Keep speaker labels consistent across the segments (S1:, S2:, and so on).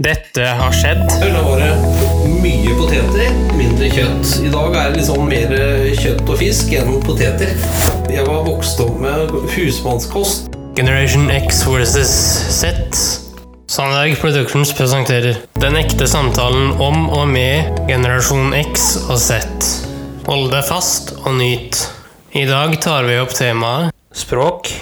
S1: Dette har skjedd.
S2: Da var det mye poteter, mindre kjøtt. I dag er det liksom mer kjøtt og fisk enn poteter. Jeg var vokst opp med husmannskost.
S1: Generation X versus Z. Sandberg Productions presenterer Den ekte samtalen om og med generasjon X og Z. Hold deg fast og nyt. I dag tar vi opp temaet språk.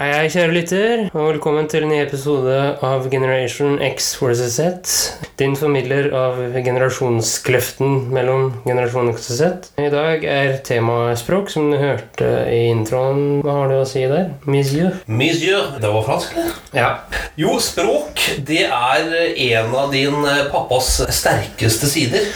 S1: Hei, hei, kjære lytter, og velkommen til en ny episode av Generation X versus Z. Din formidler av generasjonskløften mellom generasjon X og Z. I dag er temaet språk, som du hørte i introen. Hva har du å si der? Monsieur?
S2: Monsieur. Det var fransk, eller?
S1: Ja.
S2: Jo, språk, det er eh, en av din pappas sterkeste sider.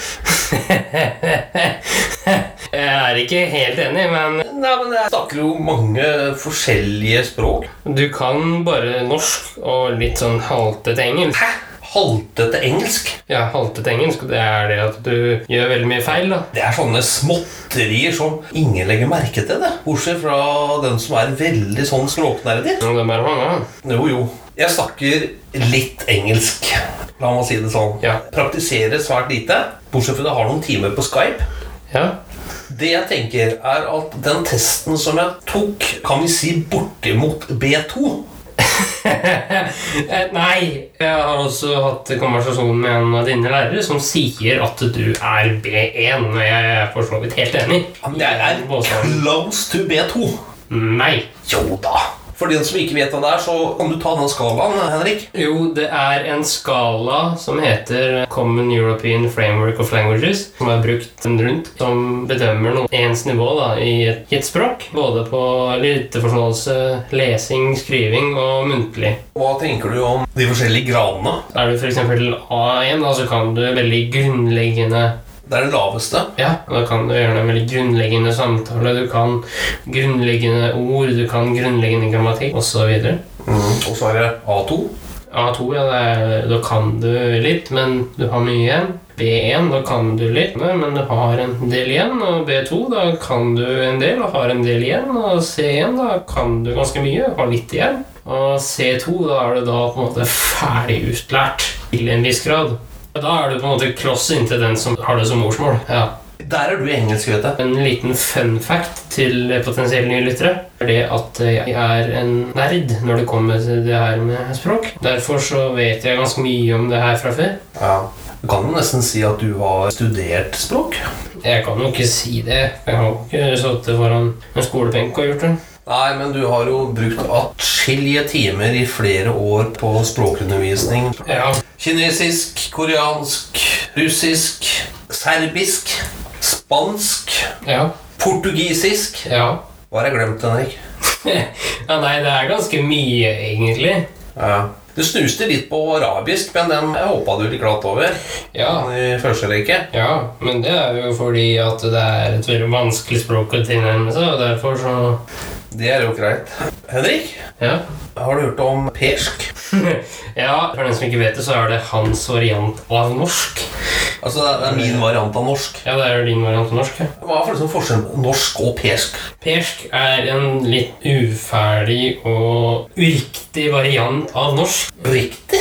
S1: Jeg er ikke helt enig, men
S2: Nei, men jeg snakker jo mange forskjellige språk.
S1: du kan bare norsk og litt sånn haltete engelsk.
S2: Hæ? Haltete engelsk?
S1: Ja, haltete engelsk, det er det at du gjør veldig mye feil, da.
S2: Det er sånne småtterier som ingen legger merke til, det. Bortsett fra den som er veldig sånn språknerder.
S1: Og det er bare mange, da.
S2: Jo, jo. Jeg snakker litt engelsk. La meg si det sånn.
S1: Ja.
S2: Praktiserer svært lite, bortsett fra at jeg har noen timer på Skype.
S1: Ja.
S2: Det jeg tenker, er at den testen som jeg tok, kan vi si bortimot B2.
S1: Eh, Nei, jeg har også hatt konversasjon med en av dine lærere som sier at du er B1, og jeg er for så vidt helt enig.
S2: Men Jeg er
S1: Påstand.
S2: close to B2.
S1: Nei.
S2: Jo da. For den som ikke vet hva det er, så kan du ta den skalaen, Henrik.
S1: Jo, det er en skala som heter Common European Framework of Languages, som er brukt rundt, som bedømmer noe ens nivå da, i et, i et språk. Både på lytteforståelse, lesing, skriving og muntlig.
S2: Hva tenker du om de forskjellige gradene?
S1: Er du f.eks. A1, da, så kan du veldig grunnleggende
S2: Det er det laveste.
S1: Ja, og da kan du gjøre en veldig grunnleggende samtale, du kan grunnleggende ord, du kan grunnleggende grammatikk osv.
S2: Mm, Og så er det A2.
S1: A2, ja, det er, da kan du litt, men du har mye igjen. B1, da kan du litt, men du har en del igjen. Og B2, da kan du en del og har en del igjen. Og C1, da kan du ganske mye og har litt igjen. Og C2, da er du da på en måte ferdig utlært til en viss grad. Da er du på en måte kloss inntil den som har det som morsmål. Ja.
S2: Der er du i engelsk, vet jeg.
S1: En liten fun fact til potensielle nye lyttere er det at jeg er en nerd når det kommer til det her med språk. Derfor så vet jeg ganske mye om det her fra før.
S2: Ja. Du kan jo nesten si at du har studert språk.
S1: Jeg kan jo ikke si det. Jeg har jo ikke sittet foran en skolebenk og gjort det.
S2: Nei, men du har jo brukt atskillige timer i flere år på språkundervisning.
S1: Ja,
S2: Kinesisk, koreansk, russisk, serbisk, spansk,
S1: ja,
S2: portugisisk.
S1: ja.
S2: Hva har jeg glemt, Henrik?
S1: ja nei, det er ganske mye, egentlig.
S2: Ja. Du snuste litt på arabisk, men den hoppa du litt glatt over.
S1: Ja.
S2: I første rekke.
S1: Ja, men det er jo fordi at det er et veldig vanskelig språk å tilnærme seg, og derfor så
S2: Det er jo greit. Henrik,
S1: Ja.
S2: har du hørt om persk?
S1: Ja, for den som ikke vet det, så er det hans variant av norsk.
S2: Altså, det er min variant av norsk.
S1: Ja, det er jo din variant av norsk. Ja.
S2: Hva er for liksom forskjellen på norsk og persk?
S1: Persk er en litt uferdig og uriktig variant av norsk.
S2: Riktig?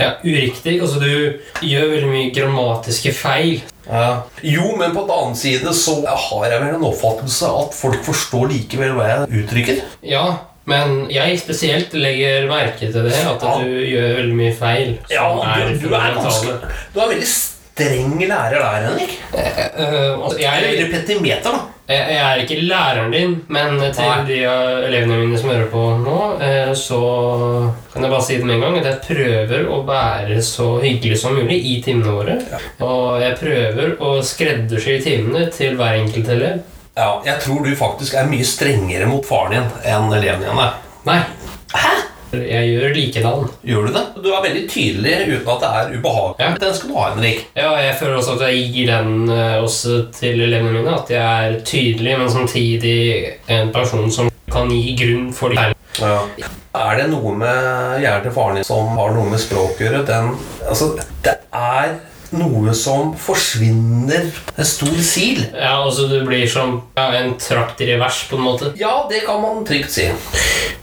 S1: Ja, uriktig. Altså, du gjør veldig mye grammatiske feil.
S2: Ja. Jo, men på den annen side så har jeg vel en oppfattelse at folk forstår likevel hva jeg uttrykker.
S1: Ja, men jeg spesielt legger merke til det, at
S2: Ja.
S1: du gjør veldig mye feil. som
S2: du, du er
S1: fundamentale.
S2: ganske Du er veldig streng lærer der, Henrik.
S1: Eh, altså,
S2: Jeg
S1: jeg,
S2: er petimeter, da.
S1: Jeg jeg er ikke læreren din, men til
S2: Nei.
S1: de av elevene mine som hører på nå, eh, så kan jeg bare si det med en gang at jeg prøver å være så hyggelig som mulig i timene våre. Og jeg prøver å skreddersy timene til hver enkelt elev.
S2: Ja, jeg tror du faktisk er mye strengere mot faren din enn eleven din er.
S1: Nei. Hæ? Jeg gjør likedan.
S2: Gjør du det? Du er veldig tydelig uten at det er ubehagelig.
S1: Ja.
S2: Den skal du ha, Henrik.
S1: Ja, jeg føler også at jeg gir den eh, også til elevene mine, at jeg er tydelig, men samtidig en person som kan gi grunn for det.
S2: Er det noe med hjernen til faren din som har noe med språk å gjøre? Den Altså, det er noe som forsvinner. En stor sil.
S1: Ja, altså du blir som ja, en trakt i revers, på en måte.
S2: Ja, det kan man trygt si.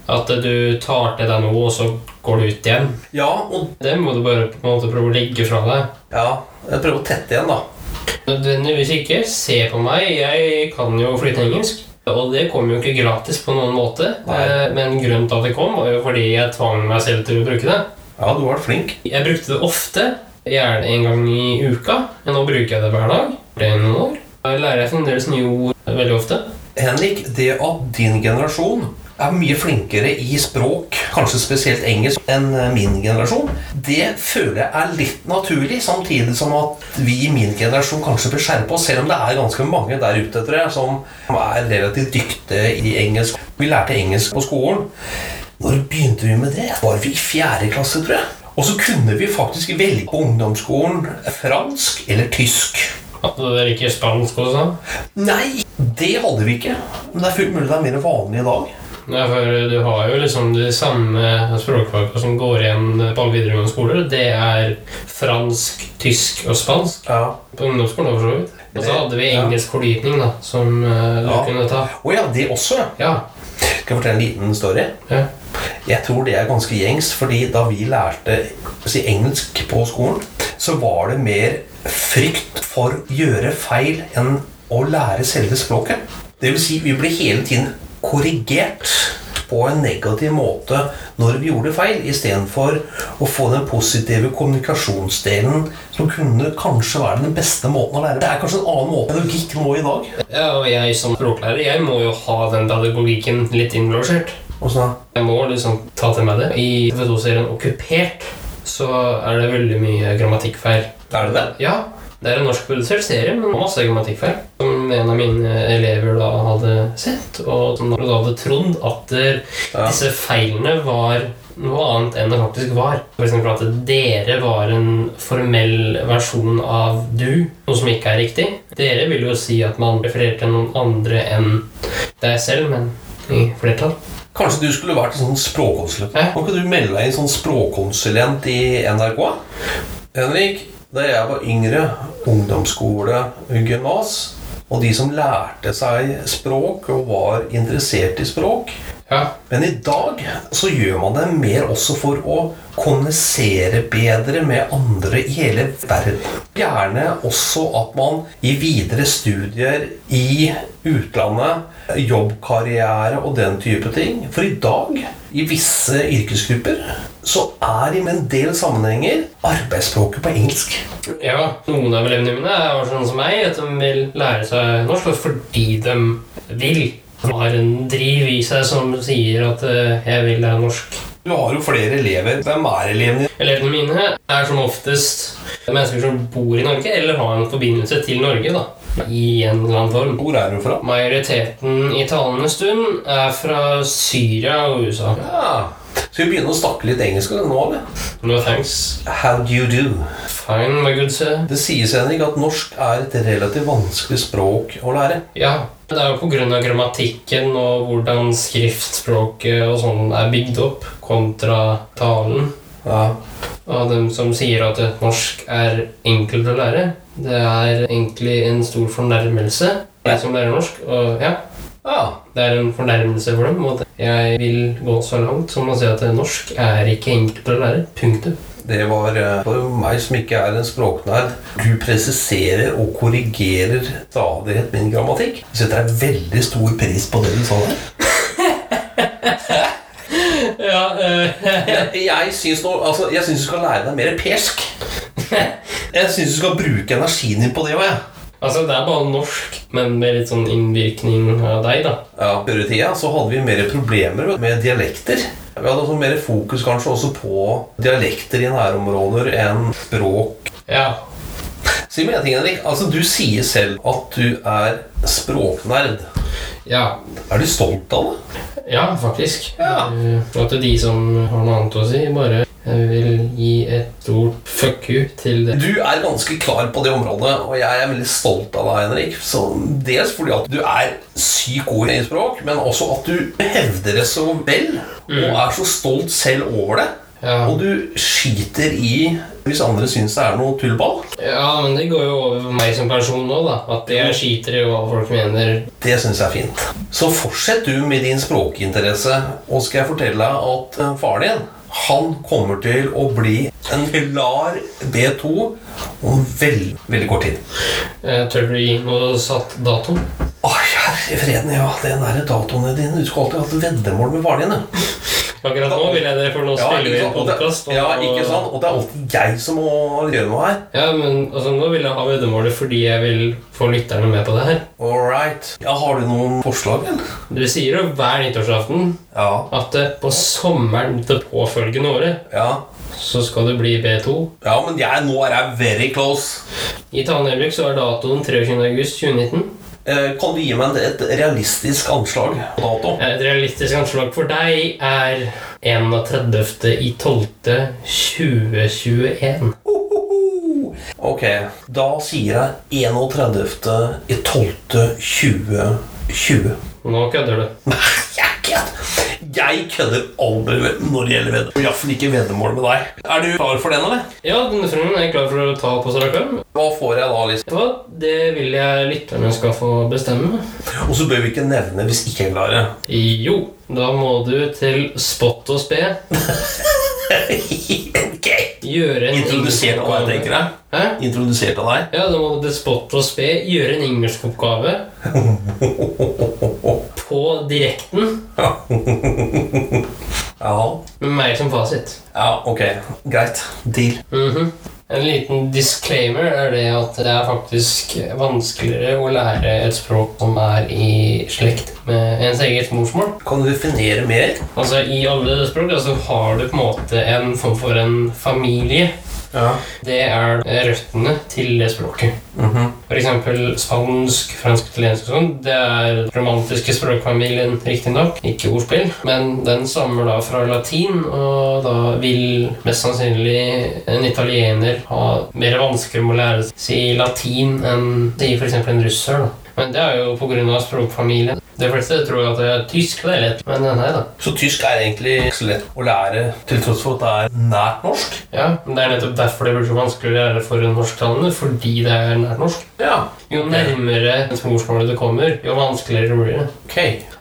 S1: At eh, du tar til deg noe, og så går du ut igjen.
S2: Ja, og
S1: Det må du bare på en måte prøve å legge fra deg.
S2: ja, jeg prøver å tette igjen, da.
S1: Nødvendigvis ikke. Se på meg, jeg kan jo flytte engelsk. Og det kom jo ikke gratis på noen måte,
S2: Nei.
S1: eh, men grunnen til at det kom, var jo fordi jeg tvang meg selv til å bruke det.
S2: Ja, du har vært flink.
S1: Jeg brukte det ofte, gjerne en gang i uka, men nå bruker jeg det hver dag. Det er noen år. Jeg lærer jeg fremdeles nye ord veldig ofte.
S2: Henrik, det at din generasjon er mye flinkere i språk, kanskje spesielt engelsk, enn eh, min generasjon, det føler jeg er litt naturlig, samtidig som at vi i min generasjon kanskje bør skjerpe oss, selv om det er ganske mange der ute etter det som er relativt dyktige i engelsk. Vi lærte engelsk på skolen. Når begynte vi med det? Var vi i fjerde klasse, tror jeg? Og så kunne vi faktisk velge på ungdomsskolen eh, fransk eller tysk.
S1: At det er ikke spansk sånn. også.
S2: Nei, det hadde vi ikke. Men det er fullt mulig det er mer vanlig i dag.
S1: Ja, for du har jo liksom de samme språkfagene som går igjen på alle videregående skoler. Det er fransk, tysk og spansk.
S2: Ja.
S1: På ungdomsskolen også, for så vidt. Og så hadde vi engelsk fordypning, da, som eh, du
S2: Ja.
S1: kunne ta.
S2: Å ja, det også. ja.
S1: Ja.
S2: Skal jeg fortelle en liten story?
S1: ja.
S2: Jeg tror det er ganske gjengs, fordi da vi lærte å si engelsk på skolen, så var det mer frykt for å gjøre feil enn å lære selve språket. Det vil si, vi ble hele tiden korrigert på en negativ måte når vi gjorde feil, istedenfor å få den positive kommunikasjonsdelen som kunne kanskje være den beste måten å lære. Det er kanskje en annen måte enn logikk nå i dag.
S1: ja, og jeg som språklærer, jeg må jo ha den pedagogikken litt innblåsert.
S2: Og sånn,
S1: Jeg må liksom ta til meg det. I TV2-serien Okkupert så er det veldig mye grammatikkfeil.
S2: er det det?
S1: Ja, det er en norskprodusert serie, men masse grammatikkfeil. Som en av mine elever da hadde sett, og som da hadde trodd at eh,
S2: Ja.
S1: disse feilene var noe annet enn det faktisk var. For eksempel at dere var en formell versjon av du, noe som ikke er riktig. Dere vil jo si at man refererer til noen andre enn deg selv, men i flertall.
S2: Kanskje du skulle vært en sånn språkkonsulent?
S1: Hæ?
S2: Kan ikke du melde deg inn sånn språkkonsulent i NRK? Henrik, da jeg var yngre, ungdomsskole, gymnas, og de som lærte seg språk og var interessert i språk
S1: Ja,
S2: Men i dag så gjør man det mer også for å kommunisere bedre med andre i hele verden. Gjerne også at man i videre studier i utlandet, jobbkarriere og den type ting. For i dag, i visse yrkesgrupper, så er i en del sammenhenger arbeidsspråket på engelsk.
S1: Ja, noen av elevene mine er sånn som meg, at de vil lære seg norsk fordi de vil. De har en driv i seg som sier at eh, 'jeg vil lære norsk'.
S2: Du har jo flere elever. Hvem er elevene?
S1: Elevene mine er som oftest mennesker som bor i Norge, eller har en forbindelse til Norge, da. I en eller annen form.
S2: Hvor er du fra?
S1: Majoriteten i talende stund er fra Syria og USA.
S2: Ja. Skal vi begynne å snakke litt engelsk nå, eller?
S1: No thanks.
S2: How do you do?
S1: Fine, my good sir.
S2: Det sies Henrik, at norsk er et relativt vanskelig språk å lære.
S1: Ja, det er jo på grunn av grammatikken og hvordan skriftspråket og sånn er bygd opp kontra talen.
S2: Ja.
S1: Og dem som sier at norsk er enkelt å lære, det er egentlig en stor fornærmelse. Jeg som lærer norsk, og ja,
S2: ja.
S1: det er en fornærmelse for dem. Og jeg vil gå så langt som å si at norsk er ikke enkelt å lære. Punktum.
S2: Det var eh, for meg som ikke er en språknerd. Du presiserer og korrigerer stadig min grammatikk. Jeg setter en veldig stor pris på det du sa der.
S1: Ja, eh,
S2: Jeg, jeg syns nå- altså, jeg syns du skal lære deg mer persk. Jeg syns du skal bruke energien din på det òg, jeg.
S1: altså det er bare norsk, men med litt sånn innvirkning av deg, da.
S2: Ja, Før i tida så hadde vi mer problemer med dialekter. Vi hadde også mer fokus kanskje også på dialekter i nærområder enn språk
S1: Ja,
S2: Si meg en ting, Henrik. Altså, du sier selv at du er språknerd.
S1: ja.
S2: Er du stolt av det?
S1: Ja, faktisk.
S2: Ja.
S1: Eh, For at de som har noe annet å si, bare eh, vil gi et stort fuck you til det.
S2: Du er ganske klar på det området, og jeg er veldig stolt av deg, Henrik. Så dels fordi at du er sykt god i språk, men også at du hevder det så vel, og er så stolt selv over det.
S1: Ja.
S2: Og du skiter i hvis andre syns det er noe tullball.
S1: ja, men det går jo over på meg som person nå, da. At jeg skiter i hva folk mener.
S2: Det syns jeg er fint. Så fortsett du med din språkinteresse, og skal jeg fortelle deg at eh, faren din han kommer til å bli en klar B2 om veldig, veldig kort tid.
S1: Eh, Tør du gi noe satt dato?
S2: Å, herre freden, ja. Den der datoene dine. Du skulle alltid hatt veddemål med faren din. ja.
S1: Akkurat nå vil jeg det, for nå spiller vi en
S2: ikke sant? Og det-
S1: podkast.
S2: Ja, ikke sant? Og det er alltid jeg som må gjøre noe her.
S1: Ja, men altså, nå vil jeg ha veddemålet fordi jeg vil få lytterne med på det her.
S2: All right. Ja, har du noen forslag? eller?
S1: Du sier jo hver nyttårsaften
S2: Ja.
S1: at eh, på sommeren det påfølgende året
S2: Ja,
S1: så skal du bli B2.
S2: ja men jeg, nå er jeg very close.
S1: I Tanelvik så er datoen 23. august 2019.
S2: Eh, kan du gi meg et realistisk anslag på dato?
S1: Et realistisk anslag for deg er 31.12.2021.
S2: Hohoho! Ok, da sier jeg 31. i 12. 2020.
S1: Nå kødder du.
S2: Nei, jeg kødder Jeg kødder aldri med- når det gjelder veddemål. Iallfall ikke veddemål med deg. Er du klar for den, eller?
S1: Ja, denne filmen er jeg klar for å ta på strak arm.
S2: Hva får jeg da, liksom?
S1: Hva? Det vil jeg lytterne skal få bestemme.
S2: Og så bør vi ikke nevne hvis ikke jeg klarer det.
S1: Jo, da må du til Spott og Spe
S2: ok!
S1: gjøre en
S2: Introdusert av deg, tenker jeg.
S1: Hæ?
S2: Introdusert av deg.
S1: Ja, da må du til Spott og Spe gjøre en engelskoppgave på direkten
S2: Ja.
S1: med meg som fasit.
S2: ja, ok. Greit. Deal.
S1: Mhm. En liten disclaimer er det at det er faktisk vanskeligere å lære et språk som er i slekt med ens eget morsmål.
S2: Kan du definere mer?
S1: Altså I alle språk altså, har du på en måte en form for en familie.
S2: Ja.
S1: Det er røttene til det språket.
S2: Mhm.
S1: For eksempel spansk, fransk, italiensk og sånn. Det er romantiske språkfamilien, riktignok. Ikke ordspill. Men den stammer da fra latin, og da vil mest sannsynlig en italiener ha mer vansker med å lære si latin enn si f.eks. en russer. da. Men det er jo pga. språkfamilien. De fleste tror jo at det er tysk, det er lett, men nei da.
S2: Så tysk er egentlig ikke så lett å lære, til tross for at det er nært norsk.
S1: Ja, men Det er nettopp derfor det blir så vanskelig å lære for norsktalende, fordi det er nært norsk.
S2: Ja.
S1: Jo nærmere morsmålet du kommer, jo vanskeligere blir det.
S2: Ok.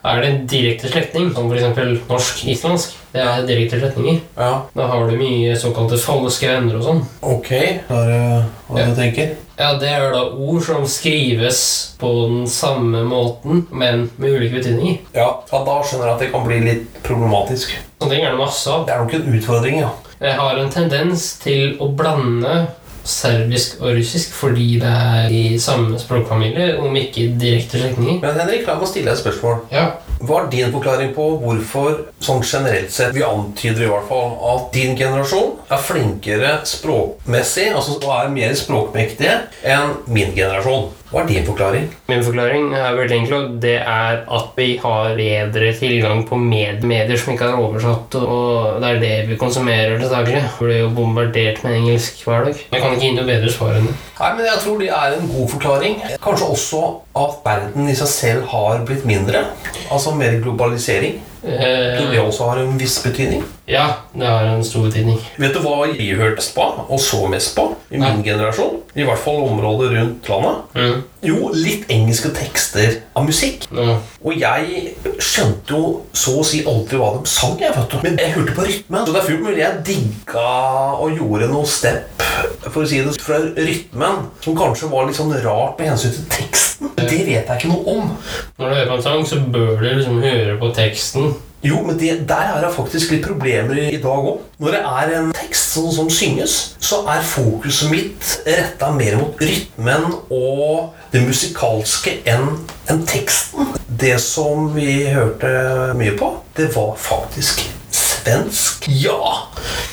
S1: Er det en direkte slektning, som f.eks. norsk-islandsk, det er direkte slektninger,
S2: Ja.
S1: da har du mye såkalte falske venner og sånn.
S2: Ok. Da er det hva
S1: Ja.
S2: du tenker.
S1: Ja, det er da ord som skrives på den samme måten, men med ulike betydninger.
S2: Ja. ja, da skjønner jeg at det kan bli litt problematisk.
S1: Sånne ting er det masse av.
S2: Det er nok en utfordring, ja.
S1: Jeg har en tendens til å blande serbisk og russisk fordi det er i samme språkfamilie, om ikke direkte slektninger.
S2: Men Henrik, la meg stille deg et spørsmål.
S1: Ja,
S2: Hva er din forklaring på hvorfor sånn generelt sett vi antyder i hvert fall at din generasjon er flinkere språkmessig, altså og er mer språkmektige enn min generasjon? Hva er din forklaring?
S1: Min forklaring er veldig enkel, og det er at vi har bedre tilgang på med medier som ikke er oversatt, og det er det vi konsumerer til daglig. Vi Blir jo bombardert med engelsk hver dag. Jeg kan ikke gi noe bedre svar enn det.
S2: Nei, men Jeg tror det er en god forklaring. Kanskje også at verden i seg selv har blitt mindre. Altså mer globalisering. Tror
S1: Eh,
S2: det også har en viss betydning.
S1: ja, det har en stor betydning.
S2: Vet du hva jeg hørte mest på, og så mest på, i min generasjon? I hvert fall området rundt landet.
S1: Mm.
S2: Jo, litt engelske tekster av musikk.
S1: Nå.
S2: Og jeg skjønte jo så å si aldri hva de sang, jeg, vet du. Men jeg hørte på rytmen. Så det er fullt mulig jeg digga og gjorde noe step, for å si det, fra rytmen, som kanskje var litt sånn rart med hensyn til teksten. Men Det vet jeg ikke noe om.
S1: Når du hører på en sang, så bør du liksom høre på teksten.
S2: Jo, men det, der er det faktisk litt problemer i i dag òg. Når det er en tekst som, som synges, så er fokuset mitt retta mer mot rytmen og det musikalske enn enn teksten. Det som vi hørte mye på, det var faktisk svensk. Ja!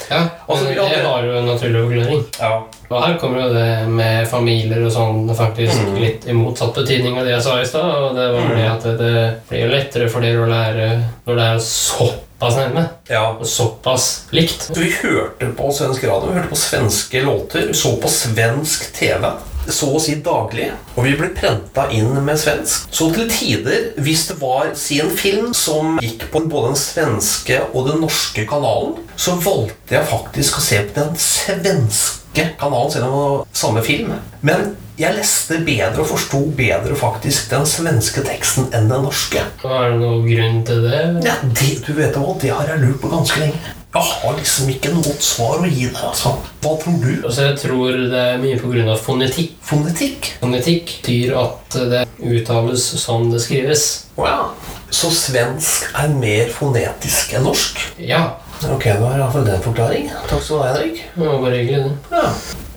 S1: Ja,
S2: Altså,
S1: men
S2: ja,
S1: det
S2: det-
S1: har jo en naturlig forklaring.
S2: Ja,
S1: Og her kommer jo det med familier og sånn faktisk litt i motsatt betydning av det jeg sa i stad. Og det var det at det blir jo lettere for dere å lære når det er såpass nærme
S2: ja.
S1: og såpass likt.
S2: Så vi hørte på svensk radio, vi hørte på svenske låter, vi så på svensk TV. så å si daglig. Og vi ble prenta inn med svensk. Så til tider, hvis det var si en film som gikk på både den svenske og den norske kanalen, så valgte jeg faktisk å se på den svenske kanalen, selv om det var samme film. Men jeg leste bedre og forsto bedre faktisk den svenske teksten enn den norske.
S1: Var det noen grunn til det?
S2: Ja, det, du vet hva, det har jeg lurt på ganske lenge. Jeg har liksom ikke noe godt svar å gi deg, altså. Hva tror du?
S1: Altså, jeg tror det er mye pga. fonetikk.
S2: Fonetikk?
S1: Fonetikk betyr at det uttales som det skrives.
S2: Å ja. Så svensk er mer fonetisk enn norsk?
S1: Ja,
S2: Ok, da har jeg iallfall den forklaringen. Takk skal du ha, Henrik.
S1: det var bare hyggelig, det.
S2: Ja.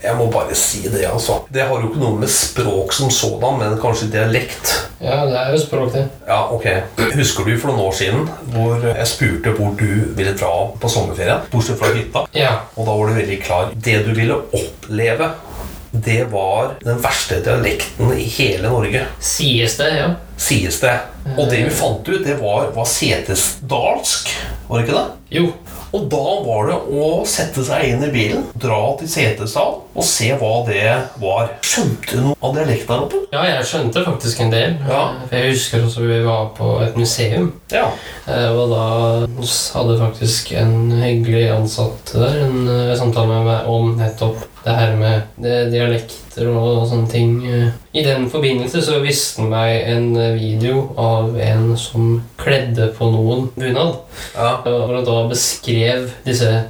S2: Jeg må bare si det, altså. Det har jo ikke noe med språk som sådan, men kanskje dialekt.
S1: Ja, det er jo språk, det.
S2: Ja, ok. Husker du for noen år siden hvor jeg spurte hvor du ville dra på sommerferie? Bortsett fra hytta.
S1: Ja.
S2: Og da var du veldig klar. Det du ville oppleve, det var den verste dialekten i hele Norge,
S1: Sies det, ja.
S2: sies det. Og det vi fant ut, det var, var setesdalsk, var det ikke det?
S1: Jo.
S2: Og da var det å sette seg inn i bilen, dra til Setesdal og se hva det var. Skjønte du noe av dialekten der oppe?
S1: Ja, jeg skjønte faktisk en del.
S2: Ja.
S1: For Jeg husker også vi var på et museum,
S2: Ja.
S1: eh, og da s- hadde faktisk en hyggelig ansatt der en eh, samtale med meg om nettopp det her med det, dialekter og, sånne ting. eh. I den forbindelse så viste han meg en eh, video av en som kledde på noen bunad, eh,
S2: Ja.
S1: og og da beskrev disse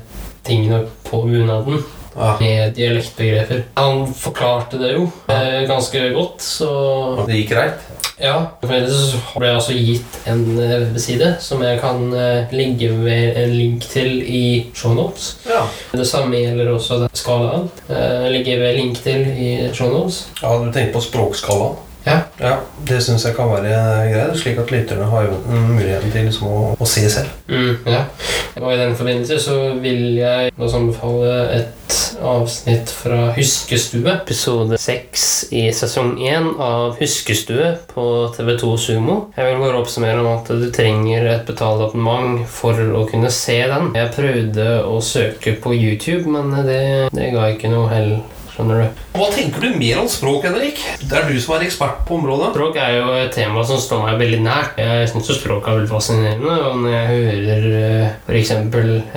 S1: tingene på bunaden.
S2: ja.
S1: med dialektbegreper. Han forklarte det jo eh, ganske godt, så
S2: Det gikk greit?
S1: ja. For ellers så ble jeg altså gitt en eh, side som jeg kan eh, legge ved en link til i shownotes.
S2: Ja.
S1: Det samme gjelder også den skalaen. Eh, legge ved link til i shownotes.
S2: ja du tenker på språkskalaen?
S1: Ja.
S2: Ja, Det syns jeg kan være greit, slik at lytterne har jo muligheten til liksom å, å se selv.
S1: Mm, ja. Og i den forbindelse så vil jeg også anbefale et avsnitt fra Huskestue. Episode 6 i sesong 1 av Huskestue på TV2 Sumo. Jeg vil bare oppsummere om at du trenger et betalt abonnement for å kunne se den. Jeg prøvde å søke på YouTube, men det, det ga ikke noe hell. Skjønner du?
S2: Hva tenker du mer om språk, Henrik? Det er du som er ekspert på området.
S1: Språk er jo et tema som står meg veldig nært. Jeg syns språk er veldig fascinerende. Og når jeg hører f.eks.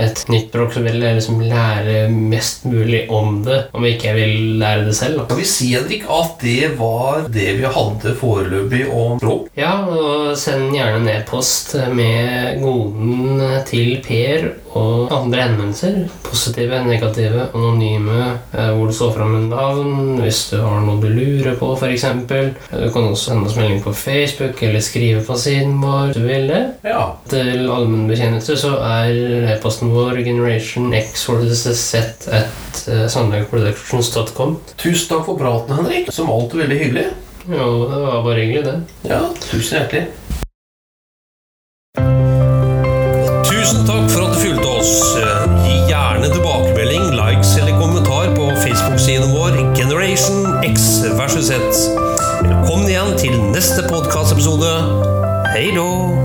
S1: et nytt språk, så vil jeg liksom lære mest mulig om det. Om ikke jeg vil lære det selv, da.
S2: Skal vi si, Henrik, at det var det vi hadde foreløpig om språk?
S1: Ja, og send gjerne ned post med goden til Per og andre henvendelser. Positive, negative, anonyme, eh, hvor du står fram med navn, hvis du har noe du lurer på, f.eks. Du kan også sende oss melding på Facebook eller skrive på siden vår hvis du vil det.
S2: Ja.
S1: Til allmennbetjenelse så er e-posten vår generationxorcesset at eh, sandbergproductions.com.
S2: Tusen takk for praten, Henrik. Som alltid veldig hyggelig.
S1: Jo, det var bare hyggelig, det.
S2: Ja, tusen hjertelig. Tusen takk for at du fulgte oss. Gi gjerne tilbakemelding, likes eller kommentar på Facebook-siden vår Generation X versus Z. Velkommen igjen til neste podkastepisode. Hei då!